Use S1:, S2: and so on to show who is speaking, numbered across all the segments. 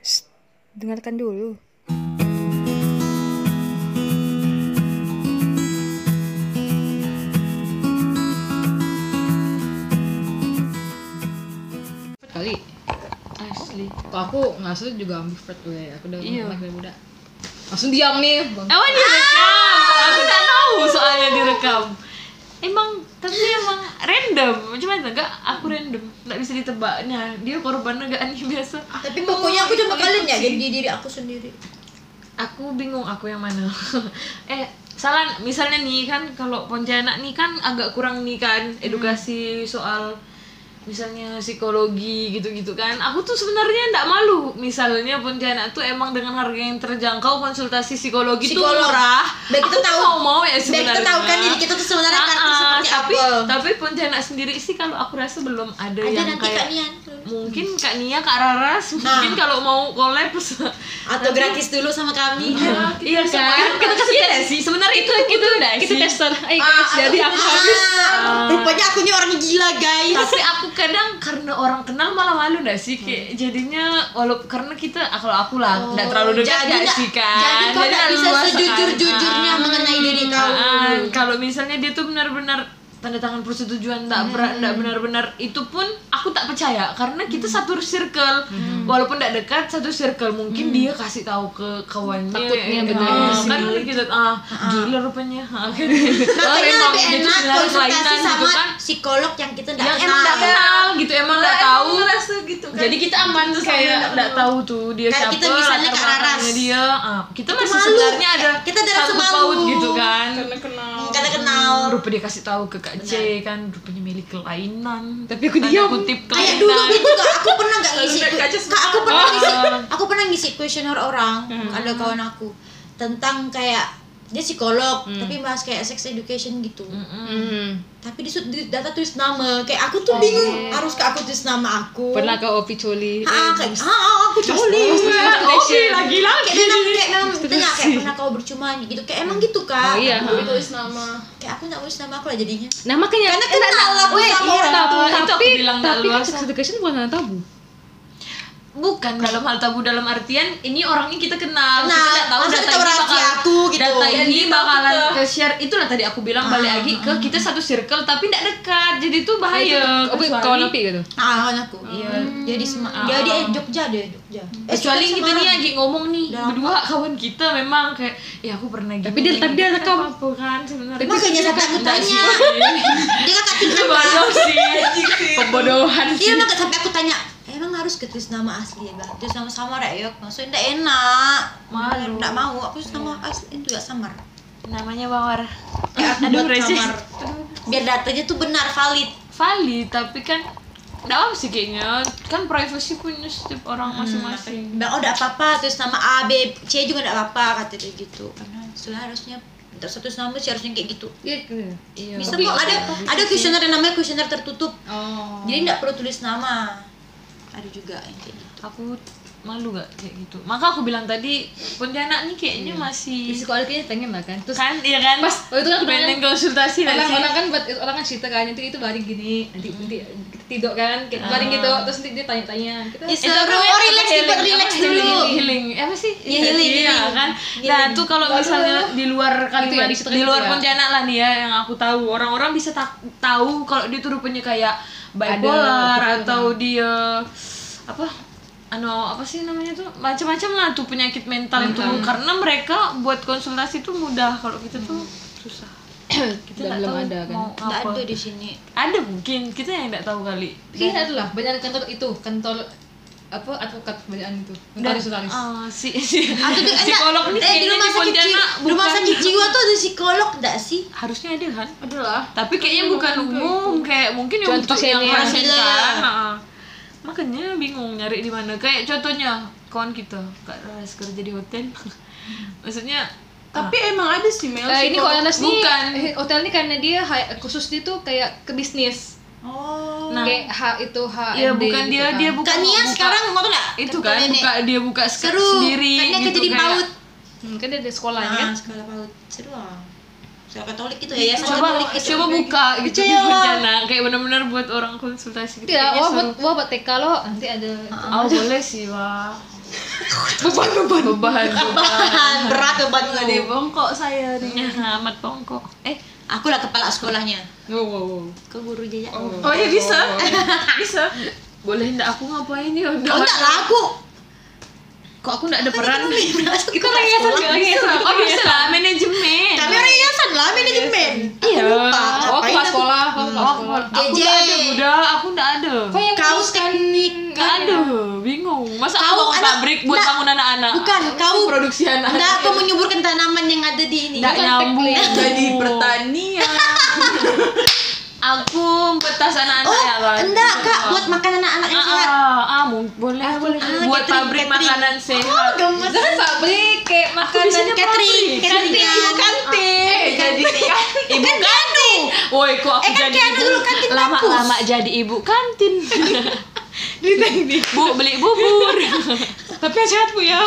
S1: Shh, dengarkan dulu.
S2: kali
S3: Asli.
S2: kalau aku ngasih juga ambivert gue aku udah
S3: Iya.
S2: anak dari muda langsung diam nih bang
S3: Emang direkam? Aku nggak tahu soalnya direkam. Emang tapi emang random. Cuma itu enggak aku random. Enggak bisa ditebaknya. Dia korban enggak nih biasa.
S4: Tapi pokoknya aku coba kalian ya jadi diri aku sendiri.
S3: Aku bingung aku yang mana. eh salah misalnya nih kan kalau Pontianak nih kan agak kurang nih kan
S4: Hmm.
S3: edukasi soal misalnya psikologi gitu-gitu kan aku tuh sebenarnya enggak malu misalnya Pontianak tuh emang dengan harga yang terjangkau konsultasi psikologi tuh
S4: Psikolog.
S3: murah
S4: Biar
S3: aku
S4: kita
S3: tuh
S4: tahu-
S3: mau mau ya
S4: Biar
S3: sebenarnya
S4: kita tahu kan diri kita tuh sebenarnya kan
S3: Ah,
S4: seperti
S3: tapi
S4: apa.
S3: tapi Pontianak sendiri sih kalau aku rasa belum ada,
S4: Ada
S3: yang
S4: nanti
S3: kayak
S4: Kak Nah. Nian.
S3: mungkin Kak Nia Kak Raras mungkin kalau mau collab
S4: Atau gratis dulu sama kami.
S3: iya kan kita kasih ya sih sebenarnya itu itu udah
S2: kita tester eh
S4: Ah,
S2: guys jadi aku habis
S4: Ah,
S2: Nah.
S4: Rupanya aku ini orang gila, guys.
S3: tapi aku kadang karena orang kenal malah malu nggak sih
S4: Hmm.
S3: kayak jadinya walau karena kita ah, kalau aku lah nggak terlalu dekat
S4: Oh, jadi
S3: nggak
S4: nggak-
S3: sih kan
S4: jadi kau nggak bisa
S3: luas kan.
S4: sejujur-jujurnya
S3: Ah,
S4: mengenai diri kau.
S3: ah, kalau misalnya dia tuh benar-benar tanda tangan persetujuan nggak
S4: Hmm.
S3: ber- nggak benar-benar itu pun aku tak percaya karena kita
S4: Hmm.
S3: satu circle walaupun nggak dekat satu circle
S4: Hmm.
S3: mungkin dia kasih tahu ke kawannya
S2: Takutnya
S3: Ah,
S2: benar sih.
S3: kan gitu ah gila rupanya Ah, kan.
S4: Makanya
S3: Emang
S4: Nah, lebih
S3: gitu
S4: enak
S3: sebenarnya
S4: konsultasi
S3: kelainan gitu
S4: sama
S3: kan
S4: psikolog yang kita
S3: yang
S4: enggak
S3: emang nggak
S4: kenal.
S3: kenal gitu emang nggak tahu
S4: gitu
S3: jadi kita aman kayak nggak tahu tuh dia
S4: Kayak
S3: siapa
S4: kita
S3: latar
S4: misalnya Kak Raras.
S3: belakangnya dia ah, kita masih
S4: malu.
S3: sebenarnya ada
S4: Kita dalam
S3: sangkut
S4: semalu.
S3: paut gitu kan
S2: Hmm.
S3: Hmm,
S4: Karena kenal.
S3: rupa dia kasih tahu ke Kak C kan rupanya milik kelainan
S2: tapi aku
S3: tanda
S2: diam
S3: kutip kelainan
S4: Kayak dulu gitu kak, aku pernah nggak ngisi
S3: Lihat kaca
S4: kak, aku pernah
S3: semua.
S4: ngisi,
S3: Ah.
S4: aku pernah ngisi kuesioner orang
S2: Hmm.
S4: ada kawan aku tentang kayak dia psikolog
S2: Hmm.
S4: tapi bahas kayak sex education gitu tapi di, di data tulis nama kayak aku tuh bingung harus ke aku tulis nama aku
S2: Oh, iya. pernah gitu ya, ke opi coli
S4: ah kayak ah aku coli
S3: Oke lagi lagi
S4: kayak memang kayak memang tengah kayak pernah kau bercuma gitu kayak emang gitu
S2: Oh,
S4: kak
S2: iya.
S4: Aku tulis nama kayak aku nggak tulis nama aku lah jadinya
S2: nah makanya iya,
S4: karena kenal aku sama orang
S3: tahu.
S2: tapi
S3: Itu aku bilang nggak
S2: tapi kan
S3: luas.
S2: sex education bukan anak tabu
S3: bukan dalam hal tabu dalam artian ini orangnya kita kenal,
S4: Kenal.
S3: kita nggak tahu
S4: Masa
S3: data
S4: kita
S3: ini
S4: rahasia
S3: bakal
S4: aku gitu.
S3: data
S4: Dan
S3: ini bakalan ke share itulah tadi aku bilang
S4: Ah,
S3: balik lagi ke kita satu circle tapi tidak dekat jadi
S4: Nah,
S3: itu bahaya
S2: opi
S3: Kecuali-
S2: kawan opi gitu
S4: ah kawan aku iya jadi sema Ah. dia di eh, Jogja dia Jogja Eh,
S3: kecuali
S4: Jogja,
S3: kita nih
S4: Semarang.
S3: lagi ngomong nih
S4: Udah
S3: berdua kawan kita memang kayak ya aku pernah gini
S2: Tapi dia- tapi dia rekam.
S3: apa kan sebenarnya
S4: makanya saya takut
S3: Enggak
S4: tanya dia kakak tingkat
S3: bodoh sih pembodohan
S4: dia emang sampai aku tanya "Eh, emang harus ke tulis nama asli ya bang terus nama samar ya yuk maksudnya enggak enak
S3: Malu.
S4: enggak mau aku tulis nama asli juga samar
S3: namanya bawar
S4: Eh, aku
S3: Aduh,
S4: buat
S3: receh.
S4: samar biar datanya tuh benar valid
S3: valid tapi kan nggak apa sih kayaknya kan privacy punya setiap orang masing-masing
S4: Bang, oh enggak apa-apa, terus nama A, B, C juga enggak apa-apa, kata dia gitu Karena sudah harusnya, terus satu nama sih harusnya kayak gitu
S2: iya gitu.
S3: iya
S4: Bisa kok, ada ada kuesioner yang namanya kuesioner tertutup
S2: oh
S4: Jadi enggak perlu tulis nama Ada juga yang kayak gitu
S3: aku malu gak kayak gitu maka aku bilang tadi Pontianak nih
S2: di
S3: kayaknya masih
S2: sekolah kayaknya pengen lah kan terus
S3: kan iya kan
S2: Pas, oh, itu kan aku
S3: pengen konsultasi nggak sih?
S2: orang-orang kan buat orang kan cerita kan itu itu baring gini nanti nanti kita tidur kan kayak baring
S3: Ah.
S2: gitu terus nanti dia tanya-tanya kita
S4: Ya, seru, oh relax dulu, relax dulu
S3: healing, healing. Eh, apa sih
S4: Iya, healing,
S3: Iya,
S4: healing.
S3: kan nah tuh kalau misalnya di luar kalimat
S2: di situ
S3: di
S2: gitu
S3: luar
S2: ya.
S3: Pontianak lah nih ya yang aku tahu orang-orang bisa tak- tahu kalau dia tuh rupanya kayak bipolar atau dia apa ano apa sih namanya tuh macam-macam lah tuh penyakit mental itu karena mereka buat konsultasi tuh mudah kalau kita tuh susah kita nggak
S2: belum
S3: tahu
S2: ada kan.
S3: mau
S4: Enggak
S3: apa.
S4: ada di sini
S3: ada mungkin kita yang nggak tahu kali
S2: Iya ada lah, banyak kantor itu, kantor apa advokat banyakan itu.
S3: Dan,
S2: Notaris notaris.
S3: ah, si, si,
S4: Aku tuh enggak-
S3: psikolog nih
S4: eh, di
S3: kayaknya
S4: rumah
S3: di
S4: sakit jiwa,
S3: Pontianak
S4: di rumah
S3: bukan-
S4: sakit jiwa tuh ada psikolog enggak sih?
S3: harusnya ada kan
S2: Ada lah.
S3: tapi kayaknya bukan umum kayak mungkin ya
S2: Contoh
S3: untuk yang
S2: senior.
S3: pasien
S4: Gila.
S3: kan ah. makanya bingung nyari di mana kayak contohnya kawan kita kak Ras kerja di hotel maksudnya
S5: Tapi emang ada sih Mel.
S2: Eh, ini kalau Anas nih,
S3: Ah, Bukan.
S2: eh, hotel ini karena dia hi- khusus dia tuh kayak ke bisnis.
S4: Oh
S3: nah
S2: kayak H itu H gitu
S3: ya bukan
S2: kan.
S3: dia dia bukan
S4: Kak Nia sekarang mau tuh enggak?
S3: itu kan
S4: Nenek.
S3: buka dia buka sk-
S4: Seru,
S3: sendiri
S4: kan dia kerja
S3: gitu
S4: di
S3: kayak-
S4: PAUD
S3: Nah.
S2: Hmm, kan dia di sekolah kan.
S4: Ah, sekolah PAUD, seru ah saya Katolik gitu ya Yayasan
S3: coba
S4: Katolik gitu.
S3: coba buka gitu di
S4: Percaya lah.
S3: bencana kayak benar-benar buat orang konsultasi
S4: Iya,
S3: gitu
S2: Tidak,
S3: Kayaknya
S2: Iya, wah
S3: seru.
S2: buat wah buat TK lo nanti ada
S3: Ah boleh sih wah beban beban beban
S4: Bahan berat beban
S5: Nggak deh
S3: Oh.
S5: bongkok saya nih.
S3: beban amat bongkok
S4: Eh, akulah kepala sekolahnya.
S3: wow, wow, wow.
S4: Ke guru jejak. Oh,
S5: Oh
S3: iya,
S5: ya bisa. bisa.
S3: boleh ndak aku ngapain ya
S4: oh enggak lah aku.
S3: kok aku ndak ada peran kan
S4: Kita orang yayasan.
S3: oh bisa lah manajemen
S4: Kami orang yayasan lah manajemen. Iya. Lupa.
S2: oh
S4: ngapain
S2: kepala
S4: aku-
S2: sekolah oh kepala sekolah
S3: Hmm. aku
S4: JJ.
S3: ndak ada Buddha aku ndak ada
S2: kok yang
S4: Kau kan
S3: nggak ada bingung masa aku
S4: Kau
S3: bangun
S4: anak-
S3: pabrik buat
S4: nggak.
S3: bangun anak-anak
S4: Bukan kau.
S3: produksi anak-anak
S4: Enggak kau menyuburkan tanaman yang ada di ini.
S3: ndak nyambung
S5: Jadi pertanian.
S3: aku petas anak-anak
S4: Oh,
S3: ya kan
S4: enggak kak buat makan anak-anak yang
S3: ah,
S4: sehat.
S3: ah, ah, mau- boleh boleh
S4: ah,
S3: buat
S4: catering,
S3: pabrik
S4: catering.
S3: makanan sehat
S4: Oh, gemes.
S2: kan pabrik kayak makanan
S4: Katering, catering,
S3: Iya,
S4: catering. Iya,
S3: kantin jadi
S4: Ibu Eh, kan kantin.
S3: woi kok aku
S4: Eh, kan
S3: jadi
S4: kayak ada
S3: ibu
S4: dulu kantin kampus. Gitu.
S3: lama-lama jadi ibu kantin bu beli bubur tapi yang sehat bu ya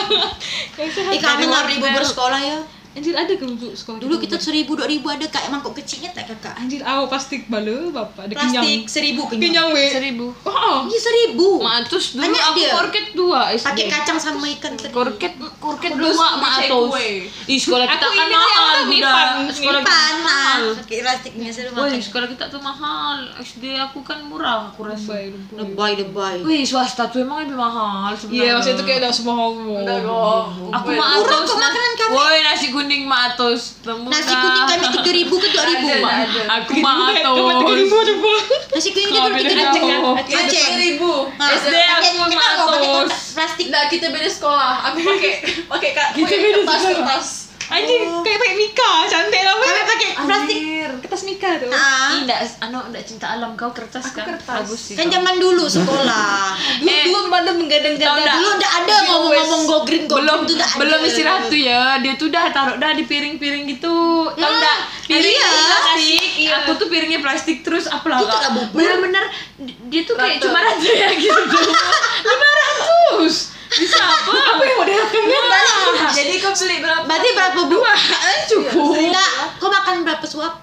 S3: yang sehat
S4: Eh kami nggak beli bubur sekolah ya.
S2: anjir ada ke untuk sekolah
S4: Dulu kita seribu dua ribu ada kak mangkok kecilnya tak kakak.
S2: anjir aw plastik balu bapak ada kenyang
S4: Plastik seribu kenyang.
S2: kenyang we
S3: seribu
S2: oh
S4: Iya seribu.
S3: Matus dulu
S4: Banyak
S3: aku
S4: dia.
S3: korket dua SD.
S4: Pakai kacang sama ikan teri.
S3: korket korket
S5: Aku dulu
S3: dua
S5: suka
S3: Matus.
S5: cekwe.
S3: Ih sekolah kita
S2: Aku
S3: kan
S2: ini yang
S3: mahal
S2: tuh
S3: Buddha.
S2: ngipan,
S3: Sekolah kita mahal.
S4: panas pakai plastiknya seru
S3: Woi,
S4: banget
S3: sekolah kita tuh mahal. SD aku kan murah, aku rasa.
S4: lebay lebay
S3: Wih, swasta tuh emang lebih mahal sebenarnya.
S2: iya maksudnya itu kayak udah semua homo
S3: Aku
S5: Woi,
S3: Maatos.
S4: murah kok
S3: na-
S4: makanan kami.
S3: Woi, nasi kuning Maatos. Temu
S4: nasi
S3: dah.
S4: kuning kami tiga ribu ke dua ribu
S5: Ada, ada.
S3: lah. Aku Maatos.
S4: nasi kuning kita dulu tiga ribu
S5: Kita
S4: Aceh.
S5: ribu.
S3: SD aku
S4: Ah, kita nggak pakai
S3: matos.
S4: kotak plastik
S5: Nggak kita beda sekolah. Aku pakai pakai kak. Kita
S2: beda
S5: kertas,
S2: sekolah.
S5: kertas.
S2: anjir kayak pakai mika cantik lah
S4: kami pakai plastik
S3: Anjir.
S2: kertas mika tuh
S4: Ah,
S3: Ih, ndak anu ndak cinta alam kau kertas kan?
S5: kertas.
S3: Bagus sih.
S4: kan zaman dulu sekolah
S3: Eh,
S2: pada menggadang-gadang
S4: dulu udah ada ngomong-ngomong go green go
S3: belum
S4: green tuh nggak ada.
S3: belum istirahat tuh ya dia tuh udah taruh dah di piring-piring gitu tau
S4: Hmm,
S3: nggak piring
S4: iya.
S3: plastik aku tuh piringnya plastik terus apa lah
S4: Itu tuh nggak bubur.
S3: bener-bener di- dia tuh kayak cuma rata ya gitu lima ratus bisa apa apa yang mau
S5: Jadi kau beli berapa?
S4: berarti Iya, berapa dua
S3: cukup
S4: enggak kau makan berapa suap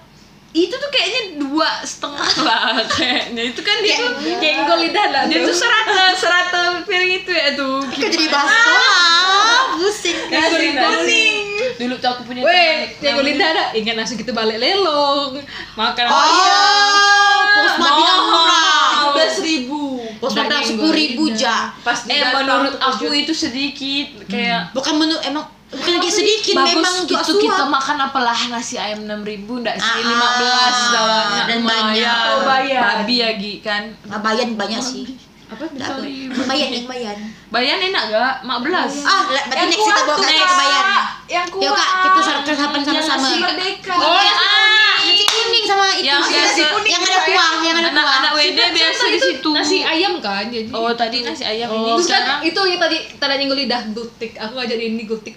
S3: itu tuh kayaknya dua setengah lah kayaknya itu kan dia tuh
S2: jenggol lidah lah
S3: dia tuh serata serata piring itu ya tuh
S4: kau jadi bahas
S5: Ah.
S4: sekolah pusing
S2: Nasi kuning.
S3: dulu tuh aku punya
S2: Weh, jenggol lidah ada. Ingat langsung
S3: gitu
S2: kita balik lelong. Makan
S4: oh pos bilang murah
S5: Dua ribu.
S4: pos bilang sepuluh ribu ja
S5: Pas
S3: eh
S5: didatang
S3: menurut
S5: tuh
S3: aku
S5: tujuh.
S3: itu sedikit kayak
S4: bukan menu emang bukan lagi sedikit memang
S3: bagus
S4: juga
S3: itu kita
S4: suap
S3: makan apalah nasi ayam enam ribu ndak sih
S4: Ah,
S3: lima belas
S4: dan banyak. Oh,
S3: bayar babi ya Gi, kan
S4: Nggak bayan banyak sih
S3: apa
S4: Nggak bayan yang bayan
S3: bayan enak gak mak belas
S4: ah le- berarti next kita bawa kakak ke bayan
S5: Yang kuat.
S4: yuk kak kita sar- sarapan sama-sama
S5: Nasi merdeka.
S4: oh
S3: Oh,
S4: yang
S3: ah.
S4: nasi kuning sama itu
S3: Yang biasa.
S4: yang ada kuah yang ada kuah
S3: anak-anak WD biasa di situ
S2: Nasi ayam kan jadi.
S3: oh tadi nasi ayam ini
S2: Terus kan
S3: sekarang
S2: itu yang tadi tanda nyengol lidah gutik. Aku ngajarin ini gutik.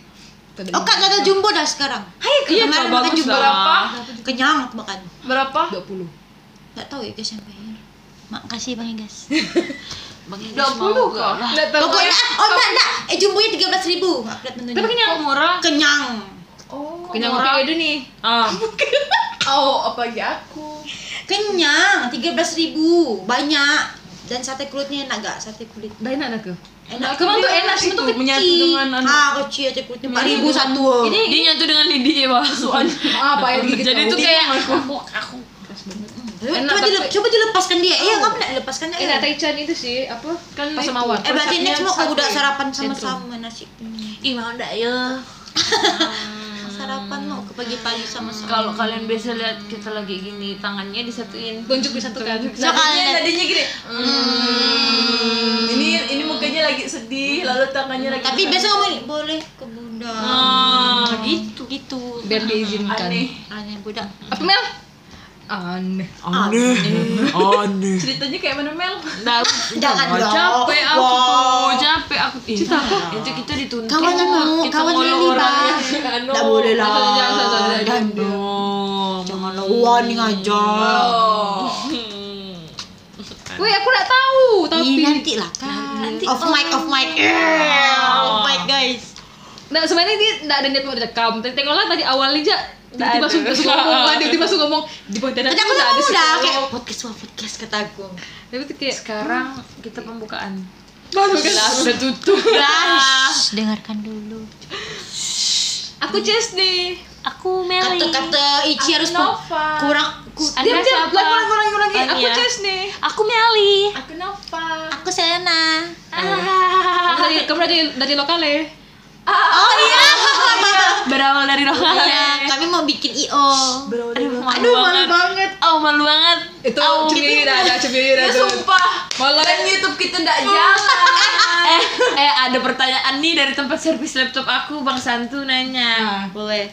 S2: Tanda
S4: oh kak ada jumbo dah sekarang hai
S3: iya kak
S4: kemarin makan
S3: bagus
S4: jumbo
S3: lah
S4: kenyang aku makan
S5: Berapa?
S2: 20.
S4: nggak tahu ya guys yang bayar makasih bang Igas
S3: dua puluh kok
S2: Nggak tahu.
S4: pokoknya ah, oh enggak enggak eh jumbonya tiga belas ribu aku lihat menunya
S3: tapi kenyang murah
S4: kenyang
S2: Kenyang kayak itu nih.
S3: ah
S5: Oh, apalagi aku.
S4: kenyang tiga belas ribu banyak dan sate kulitnya enak gak sate kulit
S2: Dah enak dah ke?
S4: enak
S2: Kemarin tuh enak sih
S5: Itu
S2: tuh
S5: menyatu dengan
S3: anu.
S4: dengan ah kecil sate kulitnya empat ribu satu
S3: ini dia nyatu dengan Didi ya pak
S2: apa ya gitu.
S3: jadi itu kayak aku
S4: Coba,
S2: Enak,
S4: coba,
S2: tapi-
S4: dile- coba dilepaskan dia iya kamu gak dilepaskan dia
S2: enak Taichan itu sih apa?
S3: kan
S2: Pas
S3: itu.
S2: mawar.
S4: eh berarti
S5: Konsepnya
S4: next mau kau
S5: sate.
S4: udah sarapan sama-sama nasi kuning
S3: Ih mau ndak ya
S4: sarapan mau ke pagi-pagi sama-sama
S3: Kalau kalian biasa lihat kita lagi gini tangannya disatuin
S2: Tunjuk disatukan. Nah,
S4: so
S5: Iya,
S4: kalian
S5: tadinya gini. "Hmm." Ini ini mukanya lagi sedih, lalu tangannya lagi
S4: tapi biasa ngomong boleh ke bunda
S3: Ah, Kan.
S4: gitu gitu
S2: Biar diizinkan.
S5: aneh.
S4: aneh budak
S2: Apa Mel? Aneh.
S4: aneh
S3: Aneh.
S5: Ceritanya kayak mana Mel?
S4: jangan dong
S3: capek aku
S4: Wow.
S3: tuh, capek aku. Cita aku. Itu kita dituntut.
S4: kawan mau
S3: kita
S4: kawan
S3: ngolok
S4: Lili
S3: orang. anu.
S4: bang nggak boleh lah dan
S3: Oh, mengolok.
S4: warning aja
S2: Weh, aku nggak tahu,
S4: Ih,
S2: tapi
S4: nanti lah kan off mic off mic Eh, off mic guys
S2: Nah sebenarnya dia nggak ada niat mau direkam. Tapi tengoklah tadi awalnya aja tiba-tiba langsung langsung ngomong kan tiba-tiba langsung ngomong di Pontianak
S4: Tapi aku
S2: tuh nggak
S4: ngomong udah
S2: psikolog.
S4: kayak podcast wah podcast kataku.
S2: tapi tuh kayak
S6: Sekarang kita pembukaan.
S2: baru kan
S6: Sudah tutup.
S4: Guys,
S3: dengarkan dulu.
S2: aku chest nih
S3: Aku Meli.
S4: kata-kata Ichi harus ku-
S7: Nova.
S4: kurang ku-
S3: Anda
S2: diam diam
S3: siapa?
S2: lagi lagi lagi lagi aku
S3: Ania.
S2: chest nih
S3: Aku Meli.
S7: Aku Nova.
S4: aku Selena.
S2: Kamu dari kamu dari dari lokal ya
S4: Oh iya.
S3: Berawal dari lokal.
S4: Iya, kami mau bikin IO.
S3: Aduh, malu
S4: Aduh, malu
S3: banget.
S4: banget.
S3: Oh, malu banget.
S2: itu cemiri dah ada cemiri dah tuh
S7: Sumpah,
S2: malah Oh.
S7: kan YouTube
S2: gitu,
S7: kita ndak jalan.
S3: Eh, eh ada pertanyaan nih dari tempat servis laptop aku, Bang Santu
S4: Ah.
S2: Nah,
S3: nanya.
S4: Boleh.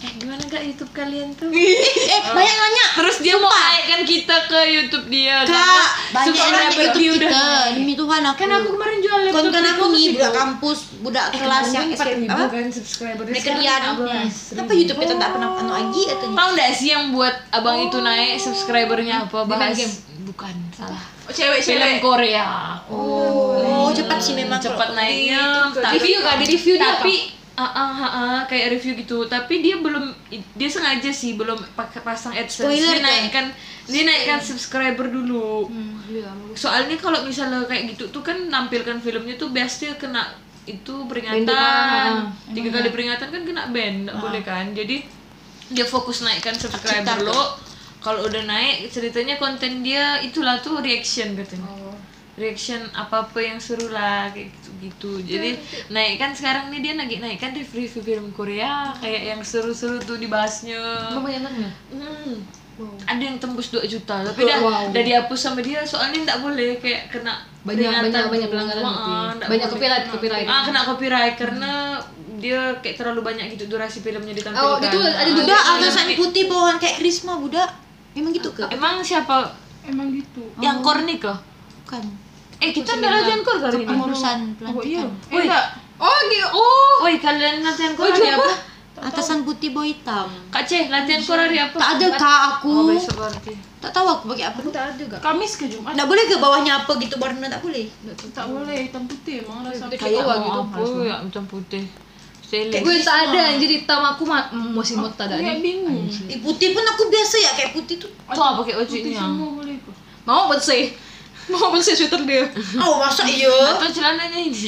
S3: Eh, gimana gak YouTube kalian tuh?
S4: Eh, banyak yang nanya.
S3: Terus dia mau naikkan kita ke YouTube dia
S4: Kak, banyak yang
S3: subscriber
S4: nanya
S3: dia
S4: YouTube
S3: udah
S4: kita. Demi Tuhan aku.
S3: Kan aku kemarin jual laptop.
S4: Kon kan
S3: itu
S4: aku
S3: terus
S4: nih
S3: di-
S4: budak kampus, budak kelas yang SMP apa?
S2: kan subscriber
S4: Negerian. Kenapa YouTube kita tak pernah anu lagi katanya?
S3: Tahu enggak sih yang buat abang itu
S4: Oh.
S3: naik subscribernya apa bahas? Bukan, salah.
S7: Oh, cewek
S3: Film
S7: cewek.
S3: Korea.
S4: Oh, cepat sih memang.
S3: Cepat
S4: kalau-
S3: naiknya. tapi-
S2: review kan di review dia
S3: tapi ah ah, ah, ah, kayak review gitu tapi dia belum dia sengaja sih belum pakai pasang adsense
S4: Spoiler,
S3: dia
S4: Kak.
S3: naikkan dia naikkan subscriber dulu soalnya kalau misalnya kayak gitu tuh kan nampilkan filmnya tuh biasanya kena itu peringatan tiga kali peringatan kan kena ban nggak boleh kan jadi dia fokus naikkan subscriber
S4: Tercipta.
S3: lo kalau udah naik ceritanya konten dia itulah tuh reaction katanya reaction apa apa yang seru lah kayak gitu gitu jadi naikkan sekarang nih dia lagi naikkan review review film Korea kayak yang seru-seru tuh dibahasnya hmm. ada yang tembus 2 juta tapi dah udah dihapus sama dia soalnya nggak boleh kayak kena
S2: Banyak-
S3: peringatan
S2: banyak- banyak
S3: dulu.
S2: pelanggaran
S3: Ah,
S2: berarti.
S3: nggak
S2: Banyak
S3: boleh.
S2: copyright,
S3: Ah,
S2: copyright.
S3: ah kena copyright karena dia kayak terlalu banyak gitu durasi filmnya ditampilkan
S2: Oh, itu ada
S3: Ah.
S4: Budak atasan putih bawahan kayak Risma budak. Emang gitu ke?
S3: emang siapa
S7: Emang gitu.
S3: yang kornik loh
S4: Bukan.
S3: eh kita ada latihan kor kali ini
S4: Pengurusan pelantikan.
S7: Eh, enggak.
S2: oh gitu oh
S3: woi kalian latihan
S2: Oh,
S3: kor hari
S2: iya,
S3: apa
S4: Atasan putih boy hitam.
S3: Kak C, latihan kor hari apa?
S4: Tak ada kak aku.
S3: Oh, besok berarti.
S4: tak tahu aku pakai apa.
S7: Kamis ke Jumat
S4: Tak boleh ke bawahnya apa gitu warna tak boleh.
S7: tak boleh hitam putih emang rasa.
S3: Kayak mau gitu
S2: oh,
S3: apa ya, hitam putih. Selek.
S2: gue tak ada anjir hitam aku ma- masih mau tak ada
S7: Kayak
S2: nih
S7: bingung.
S4: Di putih pun aku biasa ya kayak putih tuh.
S3: Tuh apa kayak wajibnya?
S7: Semua boleh kok.
S2: mau bersih mau bersih sweater dia
S4: Oh masa iya?
S3: Atau celananya ini?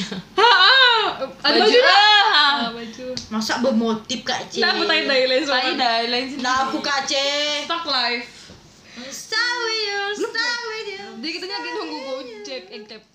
S2: ada baju
S3: Ah,
S2: baju
S4: Masa bermotif kak C.
S2: Nah, aku tanya dari lain soalnya.
S3: Lain dah, lain sendiri.
S4: Nah aku kak C.
S2: Stuck life.
S4: Stay with you, stay with you.
S2: Jadi kita lagi nunggu Gojek, eh, Grab.